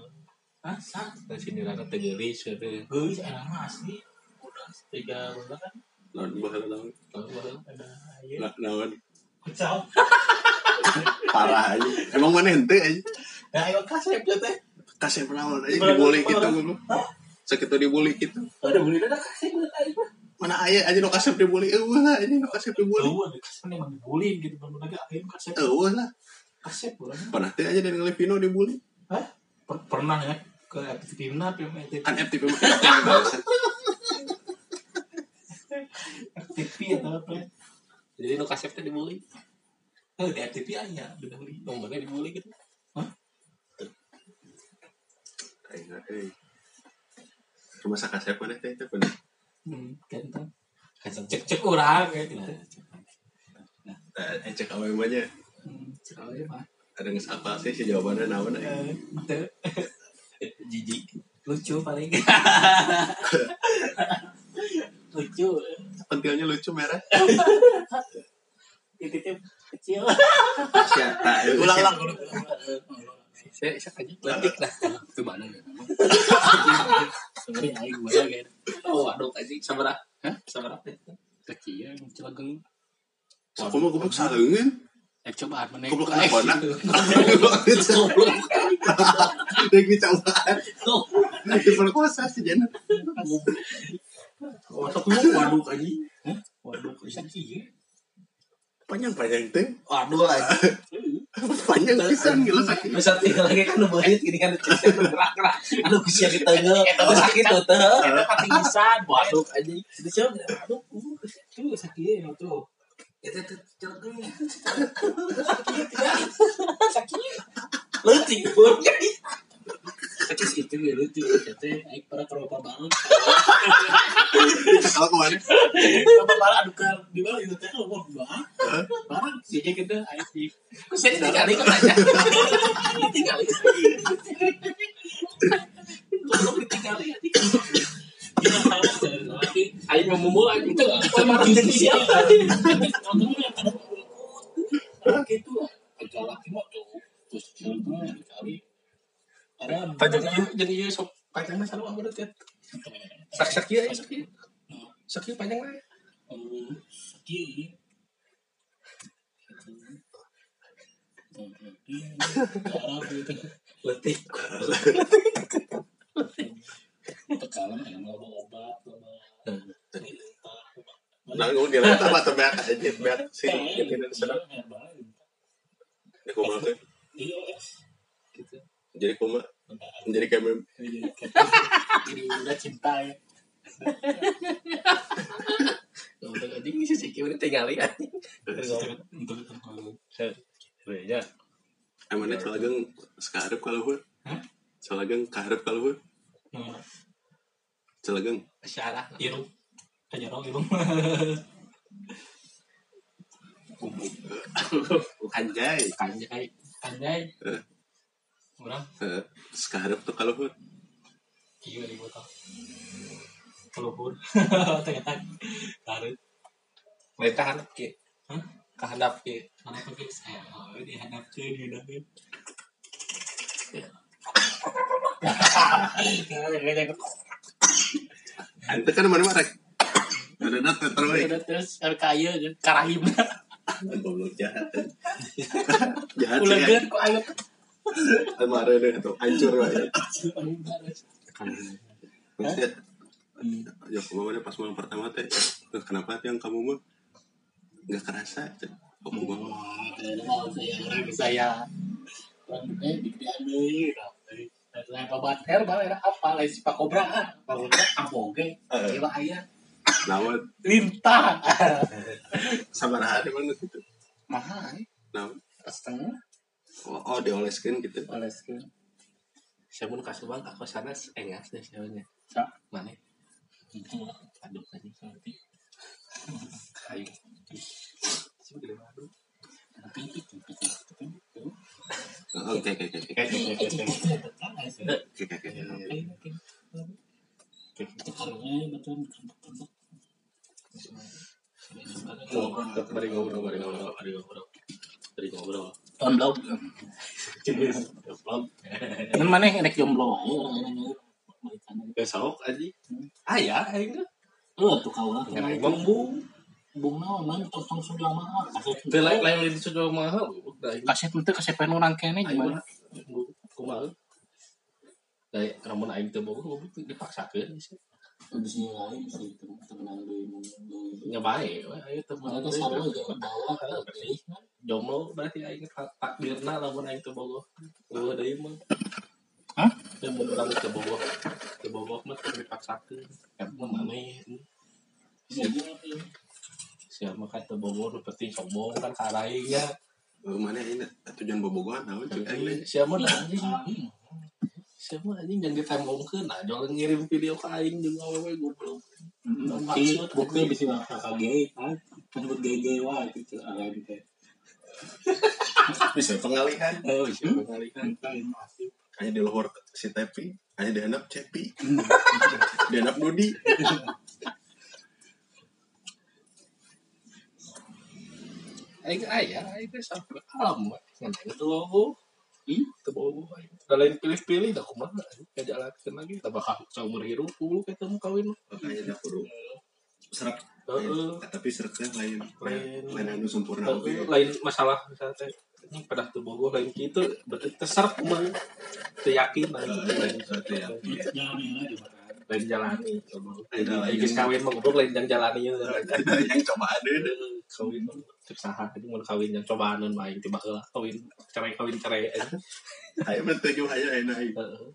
[SPEAKER 1] Ah, sa.
[SPEAKER 3] Dan sini rana tegelis seureun.
[SPEAKER 1] Geus enak mah asli. Udah tiga bulan kan.
[SPEAKER 2] naon baheula naon.
[SPEAKER 3] Tahu lah.
[SPEAKER 1] Ada ieu.
[SPEAKER 2] Na- Naon
[SPEAKER 1] Kucau.
[SPEAKER 2] parah aja. Emang mana henteu aja.
[SPEAKER 1] Ya, ayo eh. kasep ya teh.
[SPEAKER 2] Kasih naon aja dibully gitu goblok. Sakit dibully gitu.
[SPEAKER 1] Oh, Udah beli dah kasep udah tadi.
[SPEAKER 2] Mana aya aja nu kasep dibully. Eueuh Eh, aja nu kasep dibully.
[SPEAKER 1] Tahu ada kasep yang dibulin gitu. Belum lagi akhirnya kasep.
[SPEAKER 2] Eueuh Eh, lah.
[SPEAKER 3] kasep orang
[SPEAKER 2] Pernah teh aja dan Levino dibully.
[SPEAKER 3] Hah? Per- pernah ya ke Timnas ya Mek?
[SPEAKER 2] Kan FTP mah FTP yang bangsat.
[SPEAKER 3] FTP atau apa ya?
[SPEAKER 1] Jadi nu kasep teh dibully.
[SPEAKER 3] eh di FTP aja bener beli
[SPEAKER 1] Nomornya dibully gitu.
[SPEAKER 2] Aing nggak, eh. Cuma sakasep mana teh teh pernah.
[SPEAKER 3] hmm, ganteng cek cek orang ya gitu
[SPEAKER 2] Nah, aing cek awewe banyak.
[SPEAKER 3] Hmm, cek aja mah
[SPEAKER 2] Ada nggak apa sih si jawabannya naon aing.
[SPEAKER 3] Eh, teu.
[SPEAKER 1] Jijik.
[SPEAKER 3] lucu paling
[SPEAKER 1] Lucu.
[SPEAKER 2] Pentilnya lucu merah.
[SPEAKER 1] Titiknya kecil.
[SPEAKER 2] Siapa?
[SPEAKER 1] Ulang ulang ulang. Saya saya aja batik lah. Itu mana? ya? Sebenarnya aing gua kan. Oh, aduh anjing
[SPEAKER 3] ah.
[SPEAKER 1] sabaraha? Hah? Sabaraha? Kecil, celageng.
[SPEAKER 2] Aku mah goblok salengeun.
[SPEAKER 1] Eh cobaan mana?
[SPEAKER 2] Goblok anak-anak.
[SPEAKER 1] Goblok.
[SPEAKER 2] Dek dicobaan.
[SPEAKER 1] Goblok.
[SPEAKER 2] Diperkosa si Jana.
[SPEAKER 1] Masuk lu waduk anjing. Hah? Waduk anjing.
[SPEAKER 2] Panjang-panjang teh.
[SPEAKER 1] Waduh anjing.
[SPEAKER 2] Panjang pisan gila sakit.
[SPEAKER 1] Bisa tinggal lagi kan nubahit gini kan cek gerak-gerak. Aduh kusia di tengah. Aduh sakit tuh tuh. Itu pati pisan. Waduh anjing. Itu siapa? Waduh. Itu uh, sakit ya tuh. Itu tuh celgeng.
[SPEAKER 3] ya.
[SPEAKER 1] Sakit ya. Sakit. Leutik pun. Sakit itu ya leutik. Itu aik para keropa banget.
[SPEAKER 2] Kalau kemarin
[SPEAKER 1] Bapak parah aduh kan di mana itu teh ngomong bah. Barang sih aja kita IT. Kok saya tinggal ikut aja. Tinggal ikut. Tolong ditinggal ya. Ayo memumul aja itu. Sama jadi siapa? Gitu. Ada laki mah tuh. Terus jalan dicari. Ada
[SPEAKER 3] panjangnya
[SPEAKER 1] kan
[SPEAKER 3] jadi ya, sok panjangnya selalu apa berarti sak sak ya sak ya sak ya panjang lah
[SPEAKER 1] Oh, sakit.
[SPEAKER 3] letik
[SPEAKER 1] Tekalan yang loba obat, loba
[SPEAKER 2] nanggung dia lantah mata beak aja beak sih gitu dan serang. Ya, kumaha teh. Jadi kuma menjadi kayak mem-
[SPEAKER 1] Jadi udah cinta ya.
[SPEAKER 3] udah anjing sih sih kita tinggal ya
[SPEAKER 1] Reja,
[SPEAKER 2] emangnya calageng sekarep kalau gue.
[SPEAKER 3] Hah?
[SPEAKER 2] Calageng kaharep kalau gue. Calageng
[SPEAKER 3] syarah irung aja dong irung
[SPEAKER 2] anjay.
[SPEAKER 3] kanjai kanjai orang
[SPEAKER 2] Eh, Sekarep tuh kalau gue.
[SPEAKER 3] iya di kota keluhur ternyata tarik
[SPEAKER 1] lain tahan ke,
[SPEAKER 3] Hah?
[SPEAKER 1] kehandap ke.
[SPEAKER 3] mana pakai saya dihadap ke di dapur
[SPEAKER 2] Ante kan mana mana. Ada nate terbaik.
[SPEAKER 1] Terus kaya kan, karahim.
[SPEAKER 2] Goblok jahat. eh. Jahat sih. ya.
[SPEAKER 1] Ulegan kok ayo.
[SPEAKER 2] Almarhum deh tuh hancur lah ya. Maksudnya, ya kemarin pas malam pertama teh eh, kenapa teh yang kamu mah nggak kerasa teh kamu mah
[SPEAKER 1] Wah, kenal saya orang saya. Orang eh dikieu deui. Saya babat herbal era apa lain si Pak Kobra. ah. Pak Kobra amboge.
[SPEAKER 2] Eh.
[SPEAKER 1] Ieu aya
[SPEAKER 2] nawan
[SPEAKER 1] lintah.
[SPEAKER 2] sabar hari mana gitu
[SPEAKER 1] Maha eh.
[SPEAKER 2] nawan
[SPEAKER 1] setengah
[SPEAKER 2] oh, oh dioleskan gitu
[SPEAKER 1] oleskeun.
[SPEAKER 3] saya pun kasih bang aku sana engas deh sebenarnya
[SPEAKER 1] Sa
[SPEAKER 3] mana
[SPEAKER 1] itu
[SPEAKER 3] aduk aja
[SPEAKER 1] nanti
[SPEAKER 3] kayu sih gede aduk
[SPEAKER 1] nanti itu itu itu.
[SPEAKER 2] Oh, oke oke oke oke oke oke oke.
[SPEAKER 1] Itu karungnya betul betul.
[SPEAKER 3] mari ngobrol mari ngobrol mari ngobrol mari ngobrol
[SPEAKER 1] Tahun belum. Kan mana yang enak jomblo aja orang-orang yang balikannya.
[SPEAKER 3] besok aja ayah aing
[SPEAKER 1] Eh, tuh kau lah.
[SPEAKER 3] kan emang bu
[SPEAKER 1] Bung naon man tong sudah mah.
[SPEAKER 3] Teu lain lain itu sudah mahal udah aing.
[SPEAKER 1] Kasih tuh kasih pengen orang kene
[SPEAKER 3] Aing
[SPEAKER 1] gimana?
[SPEAKER 3] kumaha? Dari namun aing teu boga goblok teu dipaksakeun sih.
[SPEAKER 1] Di sini lain sih teman-teman yang doi
[SPEAKER 3] Nya bae we ayeuna teu
[SPEAKER 1] Mereka
[SPEAKER 3] mah.
[SPEAKER 1] sarua jeung bawa ke teh.
[SPEAKER 3] jomblo berarti aing tak- takdirna lamun aing teu bogoh. Bogoh deui mah.
[SPEAKER 1] Hah?
[SPEAKER 3] Teu mun urang teu bogoh. Teu bogoh mah teu dipaksakeun. Eta maneh. Siapa kan teu bogoh nu penting sombong kan ka aing nya.
[SPEAKER 2] Eh, mana ini tujuan bobogohan naon cek aing teh.
[SPEAKER 3] Siapa mah anjing. Hmm. Siapa anjing yang ditembongkeun nah jol ngirim video ka aing jeung awewe goblok.
[SPEAKER 1] Si bukti bisa kakak gay, kan? Menyebut gay gay wah gitu, ala gitu.
[SPEAKER 2] Bisa pengalihan.
[SPEAKER 1] Oh, siapa kali kan?
[SPEAKER 2] Hanya di luar si Tepi, hanya di handap Cepi, di handap Dudi.
[SPEAKER 3] Aing aya aing teh sampe alam mah. Ngan aing teu bogoh.
[SPEAKER 1] Hmm?
[SPEAKER 3] tebogo da lain pilih-pilih dah kumaha ngajalakeun lagi tah bakal saumur hirup puluh kita mau kawin
[SPEAKER 2] Makanya dah perlu serap.
[SPEAKER 3] heeh
[SPEAKER 2] Eh, Tapi serap teh lain, lain
[SPEAKER 3] Lain.
[SPEAKER 2] lain anu sempurna oke.
[SPEAKER 3] heeh lain masalah misalnya teh ini pada tebogo lain kitu berarti terserap kumaha teu yakin lah
[SPEAKER 2] Eh, lain satu ya.
[SPEAKER 1] Jangan yang lagi, Pak.
[SPEAKER 3] lain jalani tebogo.
[SPEAKER 2] Lain jalani.
[SPEAKER 3] Lain geus kawin mah goblok lain yang jalani ya
[SPEAKER 2] Ada yang coba ada deh.
[SPEAKER 3] kawin mah cek saha anjing mun kawin yang cobaaneun mah aing tiba heula kawin cerai kawin cerai anjing.
[SPEAKER 2] Ayo bertujuh aja enak. aing.
[SPEAKER 3] Heeh.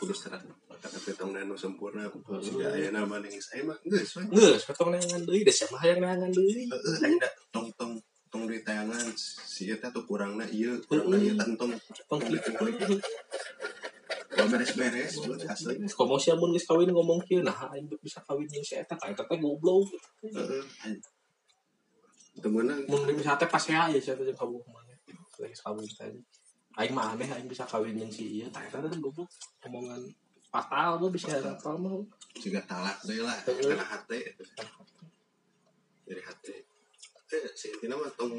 [SPEAKER 2] Kudu serap. Maka tapi tong anu sempurna. Sudah ayo nama nengis. Ayo mah enggak sih.
[SPEAKER 3] geus potong neangan deui da siapa hayang neangan deui
[SPEAKER 2] Heeh, aing da tong tong tong duit tayangan si eta tuh kurangna ieu, kurangna ieu tentong.
[SPEAKER 3] tong kitu
[SPEAKER 2] Kalau beres-beres buat asli.
[SPEAKER 3] Komo sih amun geus kawin ngomong kieu nah aing bisa kawin jeung si eta ka eta teh goblok.
[SPEAKER 2] Heeh. Temenan
[SPEAKER 3] Mun geus bisa teh pasea aya si eta jeung kabuh mana. Lagi kawin tadi. Aing mah aneh aing bisa kawin jeung si ieu tah eta teh goblok. Omongan fatal mah bisa fatal mah.
[SPEAKER 2] juga talak deh lah
[SPEAKER 3] Heeh.
[SPEAKER 2] karena hati dari hati eh si Tina mah tong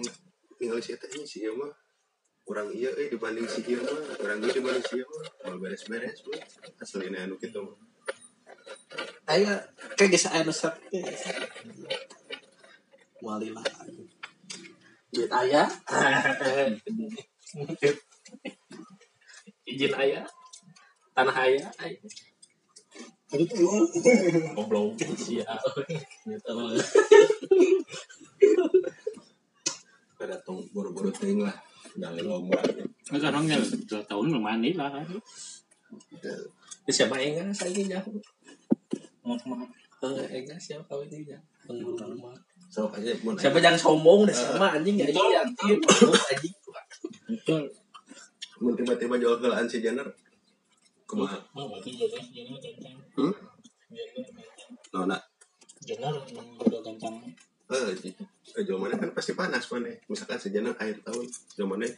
[SPEAKER 2] ningali si Eta ini si Iya mah kurang iya eh dibanding si Iya mah kurang iya dibanding si Iya mah mau beres-beres mah aslinya anu gitu mah
[SPEAKER 3] Aya kayak geus aya nu set teh. Walila. Duit aya. Izin aya. Tanah aya. aya. Goblok. Siap. Gitu.
[SPEAKER 2] pada tong buru-buru ting lah dari lomba
[SPEAKER 1] Enggak orangnya dua tahun lumayan nih lah kan.
[SPEAKER 3] Ya, siapa enggak saya ini jago.
[SPEAKER 1] Ngomong-ngomong.
[SPEAKER 3] Eh, enggak siapa kau ini jago. Pengguna rumah.
[SPEAKER 2] so aja mun
[SPEAKER 3] Siapa jangan sombong dah sama anjing ya
[SPEAKER 1] Betul,
[SPEAKER 3] iya anjing.
[SPEAKER 1] iya.
[SPEAKER 3] Anjing.
[SPEAKER 1] Betul.
[SPEAKER 2] mun tiba-tiba jual kelaan si Jenner kumaha
[SPEAKER 1] Oh, berarti jodoh jodoh gancang.
[SPEAKER 2] hmm
[SPEAKER 1] Jodoh gancang.
[SPEAKER 2] nona
[SPEAKER 1] Jodoh emang jodoh gancang.
[SPEAKER 2] eh eh jawabannya kan pasti panas mana misalkan si Jenner akhir tahun jawabannya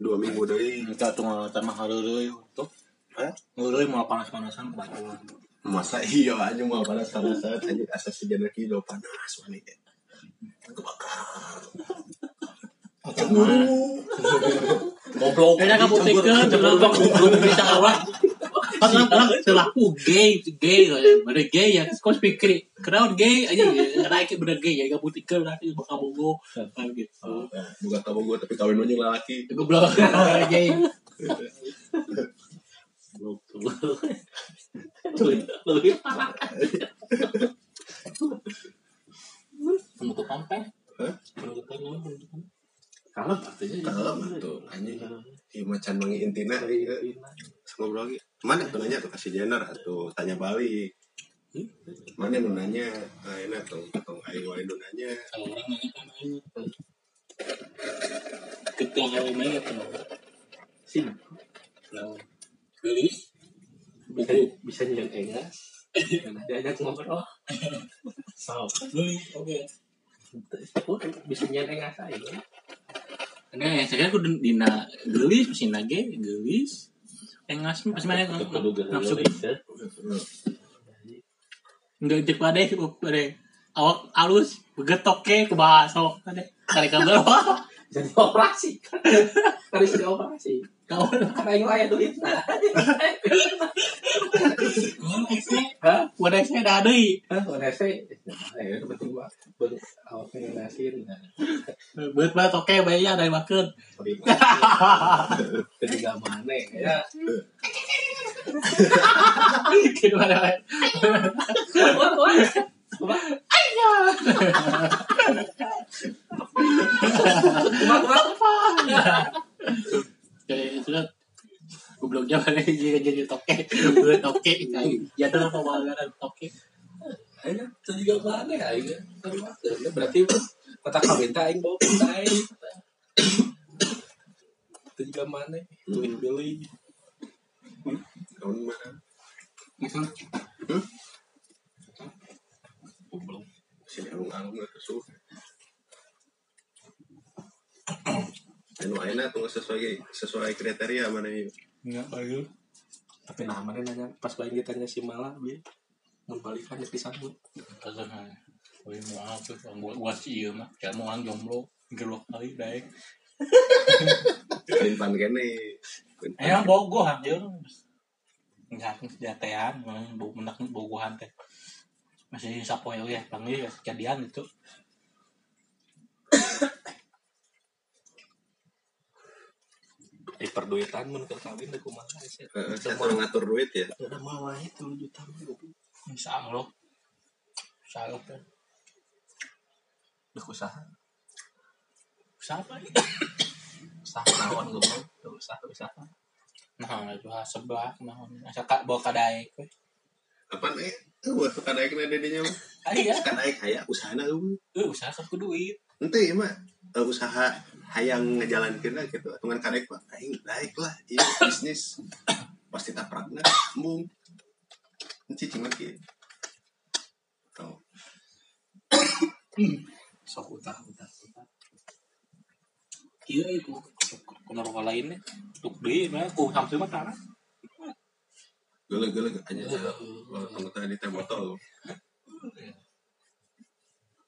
[SPEAKER 2] dua minggu dari
[SPEAKER 1] Kita tunggu tanah harurui untuk. eh?
[SPEAKER 2] Hah?
[SPEAKER 1] Harurui mau panas-panasan kebatuan.
[SPEAKER 2] masa iya aja mau panas sama saat aja asal si Jenner kido panas mana
[SPEAKER 1] Cemburu.
[SPEAKER 3] Goblok.
[SPEAKER 1] Kayaknya kamu pikir kenapa belum bisa awal. Kan orang selaku gay, gay, bener gay ya. Terus kau pikir, kenapa gay aja? Karena itu bener gay ya. Kamu pikir nanti bakal bogo. Kan gitu.
[SPEAKER 2] Nah, bukan kamu gue tapi kawin aja lelaki
[SPEAKER 1] Goblok. Bener gay.
[SPEAKER 3] Goblok tuh. Lebih- Lebih parah.
[SPEAKER 1] Penutupan teh.
[SPEAKER 2] Hah?
[SPEAKER 1] Penutupan naon, penutupan.
[SPEAKER 3] Kalem artinya.
[SPEAKER 2] kalem tuh anjing iya macan mangi intina iya ngobrol lagi mana tuh nanya tuh kasih Jenner atau tanya balik mana yang nanya ah enak tuh atau ayo ayo nu nanya
[SPEAKER 1] Kalau orang nanya kan aing. Ketua kalau main apa?
[SPEAKER 3] Sini.
[SPEAKER 1] Lawan. Gelis.
[SPEAKER 3] Bisa bisa nyeng enggak. Diajak ngobrol.
[SPEAKER 1] Sao? Gelis. Oke.
[SPEAKER 3] Bisa nyeng enggak saya.
[SPEAKER 1] Enggak, ya, saya aku dina gelis, mesin lagi gelis. Engas pas mana nafsu enggak cek pade pade awak alus getok ke ke baso pade tarik kabar wah
[SPEAKER 3] Jadi operasi. Harus jadi operasi.
[SPEAKER 1] kau
[SPEAKER 3] Karena ini ayah duit. Hah?
[SPEAKER 1] udah saya dah deui
[SPEAKER 3] Hah, udah sih. Nah, ya, penting gua ben- awak ngelasin. Nah,
[SPEAKER 1] beut bae toke bae ya dari makeun
[SPEAKER 3] sorry. Ketiga mana ya?
[SPEAKER 1] kitu ada bae
[SPEAKER 3] Wah, wah, wah.
[SPEAKER 1] Aya.
[SPEAKER 3] Apa
[SPEAKER 1] toke ya ada apa ada toke
[SPEAKER 3] Ayo, itu juga mana ya? Ayo, terus berarti kata kawin tak aing bawa pun tak aing. Itu juga mana? Tuh beli.
[SPEAKER 2] tahun mana Hmm?
[SPEAKER 1] misal
[SPEAKER 2] si alung-alung lah kesuh anu ayeuna tunggu sesuai sesuai kriteria mana ieu
[SPEAKER 1] nggak bagus
[SPEAKER 3] Tapi namanya nanya pas lagi tanya si Mala, dia mau balikan di pisang lu.
[SPEAKER 1] Tarzan aja. Woi mau tuh, gua gua sih iya mah, kayak mau orang jomblo, gerwak kali daek.
[SPEAKER 2] Lintan kene.
[SPEAKER 1] Ayo bogoh anjir. Enggak kejatean, bu menak bogohan teh. Masih sapoe ya, panggil ya kejadian itu.
[SPEAKER 3] Di perduitan mun ke kawin aku mah sih.
[SPEAKER 2] Heeh, Eh, saya kurang ngatur duit ya.
[SPEAKER 3] Ada mah wae 3 juta mah goblok.
[SPEAKER 1] Bisa lo. Salah tuh.
[SPEAKER 3] Udah usaha.
[SPEAKER 1] Siapa ini?
[SPEAKER 3] Usaha naon goblok. Udah usaha usaha.
[SPEAKER 1] Nah, itu ah, sebelah nah asa ka bawa ka daek we.
[SPEAKER 2] Apaan eh? Wah, suka naik na dedenya. mah.
[SPEAKER 1] Ah iya,
[SPEAKER 2] Suka naik haya usahana euy.
[SPEAKER 1] eh usaha kan ku duit.
[SPEAKER 2] Ente ieu mah eh, usaha hayang ngejalankeunna gitu. Tungan kadek mah aing naik lah ieu bisnis. Pasti taprakna embung. Cici mah kieu. Tau.
[SPEAKER 3] Sok utah utah utah.
[SPEAKER 1] Iya iku. Kuno rokok lainnya. ya. Tuk deui mah ku nah. sampeun mah tanah.
[SPEAKER 2] Gele-gele aja saya. Tunggu tadi teh botol.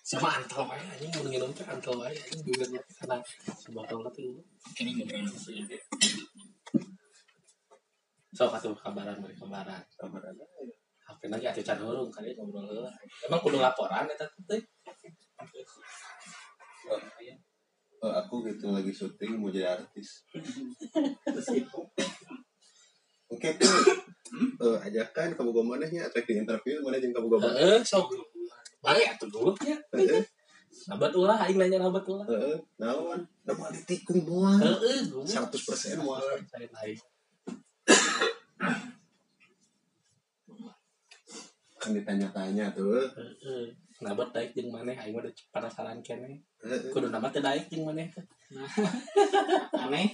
[SPEAKER 3] sama antel wae anjing mun nginum teh antel wae anjing bibirnya karena sebotol teh lu
[SPEAKER 1] Kini ngobrol sih.
[SPEAKER 3] sok atuh kabaran bari kabaran
[SPEAKER 2] Kabar ada.
[SPEAKER 3] HP lagi atuh can hurung kali ngobrol heula emang kudu laporan eta teh
[SPEAKER 2] Oh, aku gitu lagi syuting mau jadi artis. Oke, tuh. Eh, ajakan kamu gue mana ya? Atau di interview mana yang kamu gue mana? Eh,
[SPEAKER 3] heeh sok bae atuh dulu ya
[SPEAKER 2] Heeh,
[SPEAKER 3] nabat ulah aing nanya nabat ulah
[SPEAKER 2] heeh, eh, naon? Nama ditikung moal.
[SPEAKER 3] heeh dulu
[SPEAKER 2] 100% moal.
[SPEAKER 3] saya naik
[SPEAKER 2] Kan ditanya-tanya tuh.
[SPEAKER 3] heeh nabat daek jeung maneh aing mah da- penasaran keneh
[SPEAKER 2] Heeh.
[SPEAKER 3] kudu nabat teh daek jeung maneh
[SPEAKER 1] Aneh.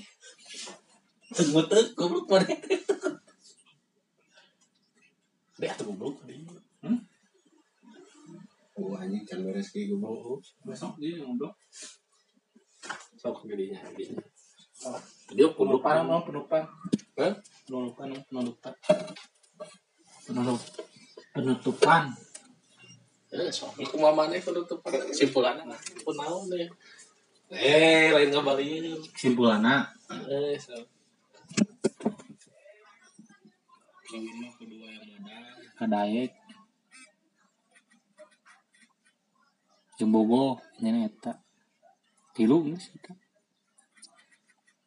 [SPEAKER 3] teu nguteuk goblok maneh Deh, atuh goblok. deh.
[SPEAKER 2] Oh, anjing can beres kayak gue mau.
[SPEAKER 3] Oh,
[SPEAKER 1] Besok dia ngobrol.
[SPEAKER 3] sok gedenya gedenya dia penutupan mau penutupan Hah?
[SPEAKER 1] penutupan penutupan penutup penutupan
[SPEAKER 3] Eh, sok itu mamane penutupan simpulan pun naon deh eh lain ngebalikin
[SPEAKER 1] kesimpulannya
[SPEAKER 3] eh sok
[SPEAKER 4] Kawin mah kedua yang modal.
[SPEAKER 1] kadaek jeung bogo nya eta tilu geus eta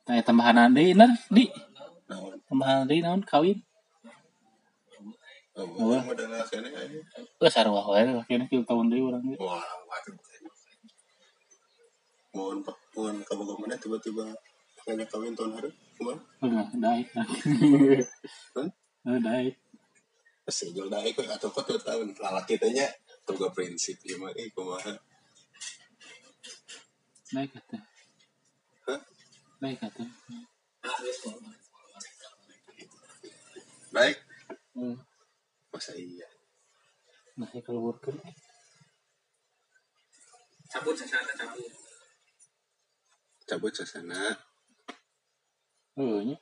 [SPEAKER 1] Nah, tambahan deui ner di
[SPEAKER 2] Naon?
[SPEAKER 1] tambahan deui naon kawin
[SPEAKER 2] Oh,
[SPEAKER 1] Apa?
[SPEAKER 2] mau modal sana aja.
[SPEAKER 1] geus sarua wae akhirnya kieu tahun deui urang ge
[SPEAKER 2] Wah, waduh. Mohon pak, mohon kamu gue mana tiba-tiba banyak kawin tahun hari. Kemana?
[SPEAKER 1] udah daek
[SPEAKER 2] Hah?
[SPEAKER 1] udah daek
[SPEAKER 2] Si Jol dari kok atau kok tuh tahun lalaki tanya tuh gak prinsip ya mah eh kumaha
[SPEAKER 1] daek kata
[SPEAKER 2] Hah?
[SPEAKER 1] daek kata
[SPEAKER 2] baik
[SPEAKER 1] hmm
[SPEAKER 2] masa iya
[SPEAKER 1] masih kalau worker
[SPEAKER 3] cabut sesana cabut
[SPEAKER 2] cabut sasana
[SPEAKER 1] Oh, nya.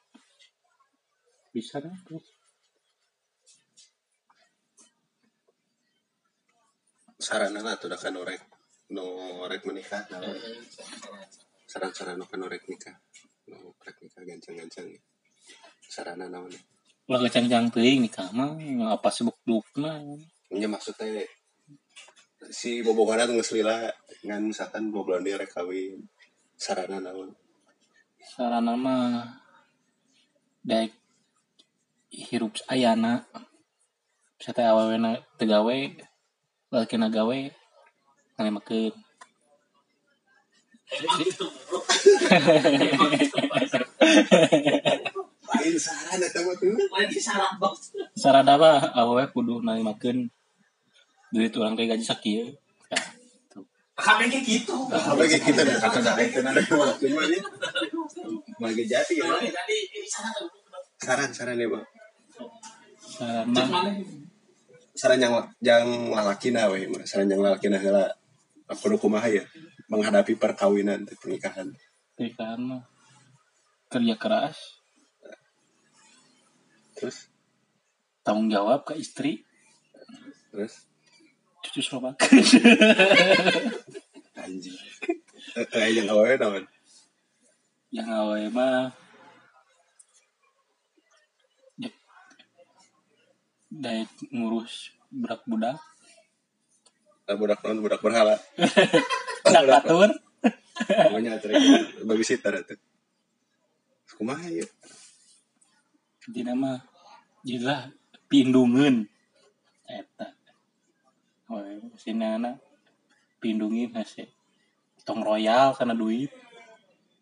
[SPEAKER 1] Bisa kan? Terus.
[SPEAKER 2] sarana lah tuh kan orek no orek menikah nah, saran-saran kan orek nikah no orek nikah gancang-gancang sarana naon
[SPEAKER 1] Ulah kecang-cang teuing nikah mah apa sebuk-bukna.
[SPEAKER 2] ini Iya, maksudnya si bobogonan ngeslila ngan misalkan bobogonan dia rek kawin sarana naon
[SPEAKER 1] Sarana mah daek hirup ayana. Bisa teh awewe na teu gawe, laki na gawe, ngalemekeun.
[SPEAKER 3] emang itu
[SPEAKER 2] lain saran eta mah tuh
[SPEAKER 3] Lagi sarap banget.
[SPEAKER 1] sarada apa awewe kudu nalimakeun duit orang teh gaji sakieu ya.
[SPEAKER 3] Kami kayak gitu.
[SPEAKER 2] apa kayak kita dah kata dah itu nanti cuma ini bagi jadi ya
[SPEAKER 3] Jadi tadi ini sarap.
[SPEAKER 2] saran saran ya bang
[SPEAKER 1] saran
[SPEAKER 3] Cek
[SPEAKER 1] mah
[SPEAKER 3] mana?
[SPEAKER 2] saran yang yang lalakina weh mah. saran yang lalakina heula aku kumaha ya menghadapi perkawinan teh, pernikahan
[SPEAKER 1] pernikahan mah kerja keras
[SPEAKER 2] terus
[SPEAKER 1] tanggung jawab ke istri
[SPEAKER 2] terus
[SPEAKER 1] cucu serobak
[SPEAKER 2] anjing eh eh, yang awalnya naon
[SPEAKER 1] yang awewe mah j- daya ngurus budak budak
[SPEAKER 2] Eh, budak naon budak berhala
[SPEAKER 1] budak batur
[SPEAKER 2] pokoknya trik bagi sitar itu kumaha ya
[SPEAKER 1] jadi mah jila pindungan eta awewe sini anak pindungin hese tong royal karena duit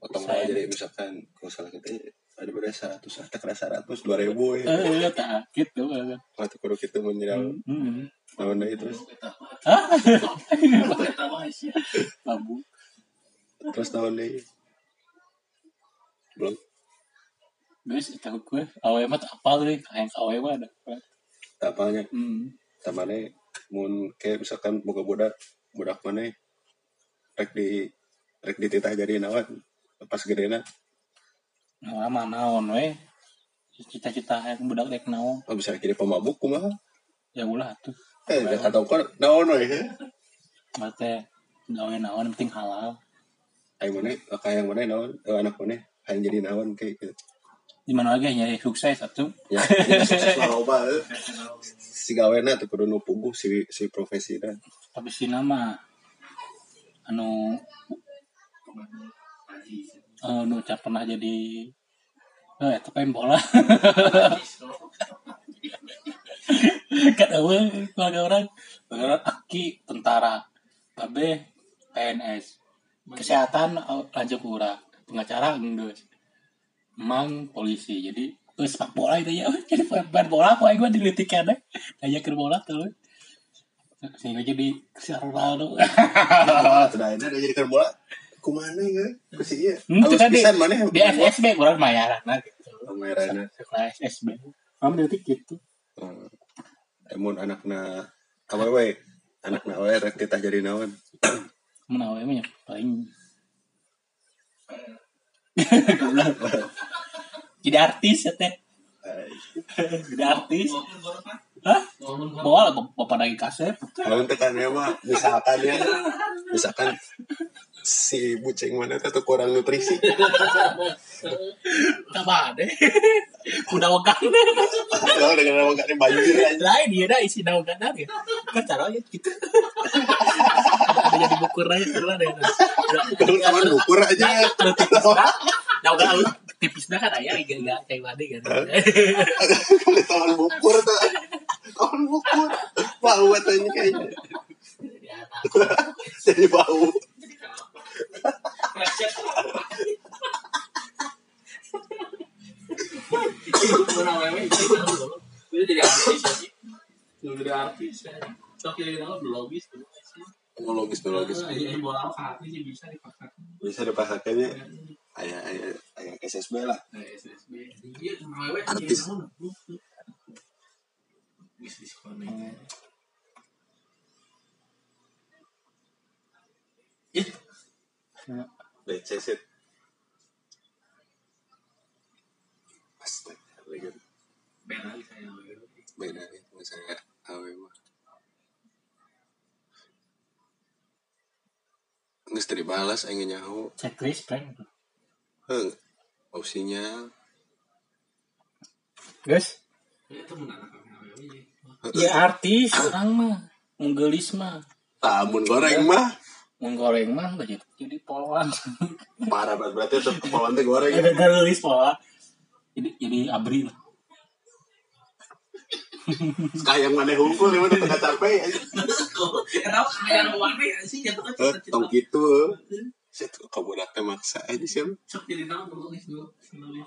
[SPEAKER 2] potong lah
[SPEAKER 1] Saya.
[SPEAKER 2] jadi misalkan kalau salah kita ada berapa seratus harta kena seratus dua ribu ya
[SPEAKER 1] eh tak gitu kan
[SPEAKER 2] waktu kudu kita menyerang
[SPEAKER 1] Hmm.
[SPEAKER 2] lawan itu terus
[SPEAKER 1] Hah?
[SPEAKER 3] Kata wah sih.
[SPEAKER 1] Labu.
[SPEAKER 2] terus lawan deui. belum
[SPEAKER 1] Guys, itu gue awe mah tak apal deh, kayak awe mah ada.
[SPEAKER 2] tak apanya
[SPEAKER 1] Hmm.
[SPEAKER 2] tamane mun kayak misalkan boga budak budak mana rek di rek dititah jadi nawat pas gedena
[SPEAKER 1] Nah, mah naon we? Cita-cita yang budak dek naon.
[SPEAKER 2] oh, bisa jadi pemabuk kumaha
[SPEAKER 1] Ya ulah tuh.
[SPEAKER 2] eh udah kata kor naon we he.
[SPEAKER 1] Mate gawe naon penting halal.
[SPEAKER 2] aing mana kayak yang mana naon eh, anak mana hayang jadi naon kayak gitu
[SPEAKER 1] Di mana lagi nyari sukses atuh.
[SPEAKER 2] ya jadi sukses loba eh. si gawena tuh kudu nu puguh si si profesi dan
[SPEAKER 1] Tapi si nama anu eh nu cap pernah jadi eh itu kan bola. kan awe keluarga orang keluarga orang aki tentara babe PNS kesehatan eh, lanjut kurang pengacara enggak emang polisi jadi eh sepak bola itu ya weh, jadi pemain bola kok gue dilitik deh kayak ke bola tuh sehingga jadi Cristiano Ronaldo
[SPEAKER 2] Terakhir ada jadi kan bola kumana ya ke si ieu.
[SPEAKER 1] hmm, itu
[SPEAKER 2] Alus
[SPEAKER 1] kan di,
[SPEAKER 2] pisan mana
[SPEAKER 1] di SSB kurang mayaran nah gitu
[SPEAKER 2] pamerana
[SPEAKER 1] sekolah SSB kamu dilitik gitu
[SPEAKER 2] emun eh, anakna awewe anakna awewe rek titah jadi naon
[SPEAKER 1] menawai banyak paling jadi artis ya teh jadi artis hah bawa lah bap- bapak lagi kaset
[SPEAKER 2] lamun tekan ya mah misalkan ya misalkan si bucing mana teh tuh kurang nutrisi
[SPEAKER 1] apa deh udah wakang
[SPEAKER 2] kalau dengan nama kan banjir aja
[SPEAKER 1] lain dia dah isi daun kanar ya kan caranya gitu ada jadi bukur aja terus ada
[SPEAKER 2] kalau sama ukur aja
[SPEAKER 1] ada tipis dah daun kanar lu tipis dah kan ayah gak gak kayak mandi kan
[SPEAKER 2] kalau sama ukur tuh tahun ukur bau katanya kayaknya jadi bau
[SPEAKER 3] Kurang wewe itu sarap dulu. Itu jadi artis aja. Udah jadi artis. ya. Tapi yang lain udah logis. tuh.
[SPEAKER 2] logis logis
[SPEAKER 3] Ah, Jadi bola apa artis sih bisa dipaksakan.
[SPEAKER 2] bisa dipasarkannya ayah ayah ayah SSB lah
[SPEAKER 3] Nah, SSB. Iya, kurang wewe.
[SPEAKER 2] Artis.
[SPEAKER 3] Wis disconnect.
[SPEAKER 2] BC sih Astaga,
[SPEAKER 3] Bel lagi saya wewe.
[SPEAKER 2] beda nih misalnya awe mah nggak tadi balas ingin nyaho
[SPEAKER 1] checklist prank
[SPEAKER 2] heng opsinya
[SPEAKER 1] guys
[SPEAKER 3] Itu menarik kurang wewe.
[SPEAKER 1] ya artis orang mah menggelis mah
[SPEAKER 2] tamun Ah, goreng mah
[SPEAKER 1] menggoreng mah gak jadi jadi polwan
[SPEAKER 2] parah banget berarti tetap kepala teh goreng
[SPEAKER 1] ada gelis pola jadi jadi abri lah
[SPEAKER 2] kayak mana hukum mana tengah capek
[SPEAKER 3] Kenapa kayak warna ya sih? Jatuh kan
[SPEAKER 2] Eh,
[SPEAKER 3] cita-cita.
[SPEAKER 2] tong eh. gitu saya tuh kamu maksa aja sih
[SPEAKER 3] Sok jadi nama nulis dulu. Nulis.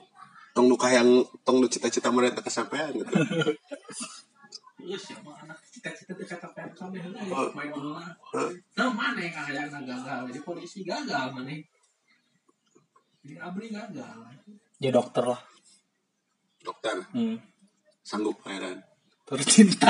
[SPEAKER 2] tong nu yang tong nu cita-cita mereka kesampaian gitu
[SPEAKER 3] Terus siapa anak cita-cita teh kata PMK mah heula,
[SPEAKER 2] Oh.
[SPEAKER 3] main bola.
[SPEAKER 2] Oh.
[SPEAKER 3] Nah mana yang akhirnya gagal jadi polisi gagal mana? Jadi abri gagal.
[SPEAKER 1] Jadi dokter lah.
[SPEAKER 2] dokter
[SPEAKER 1] Hmm.
[SPEAKER 2] sanggup heran
[SPEAKER 1] Tercinta.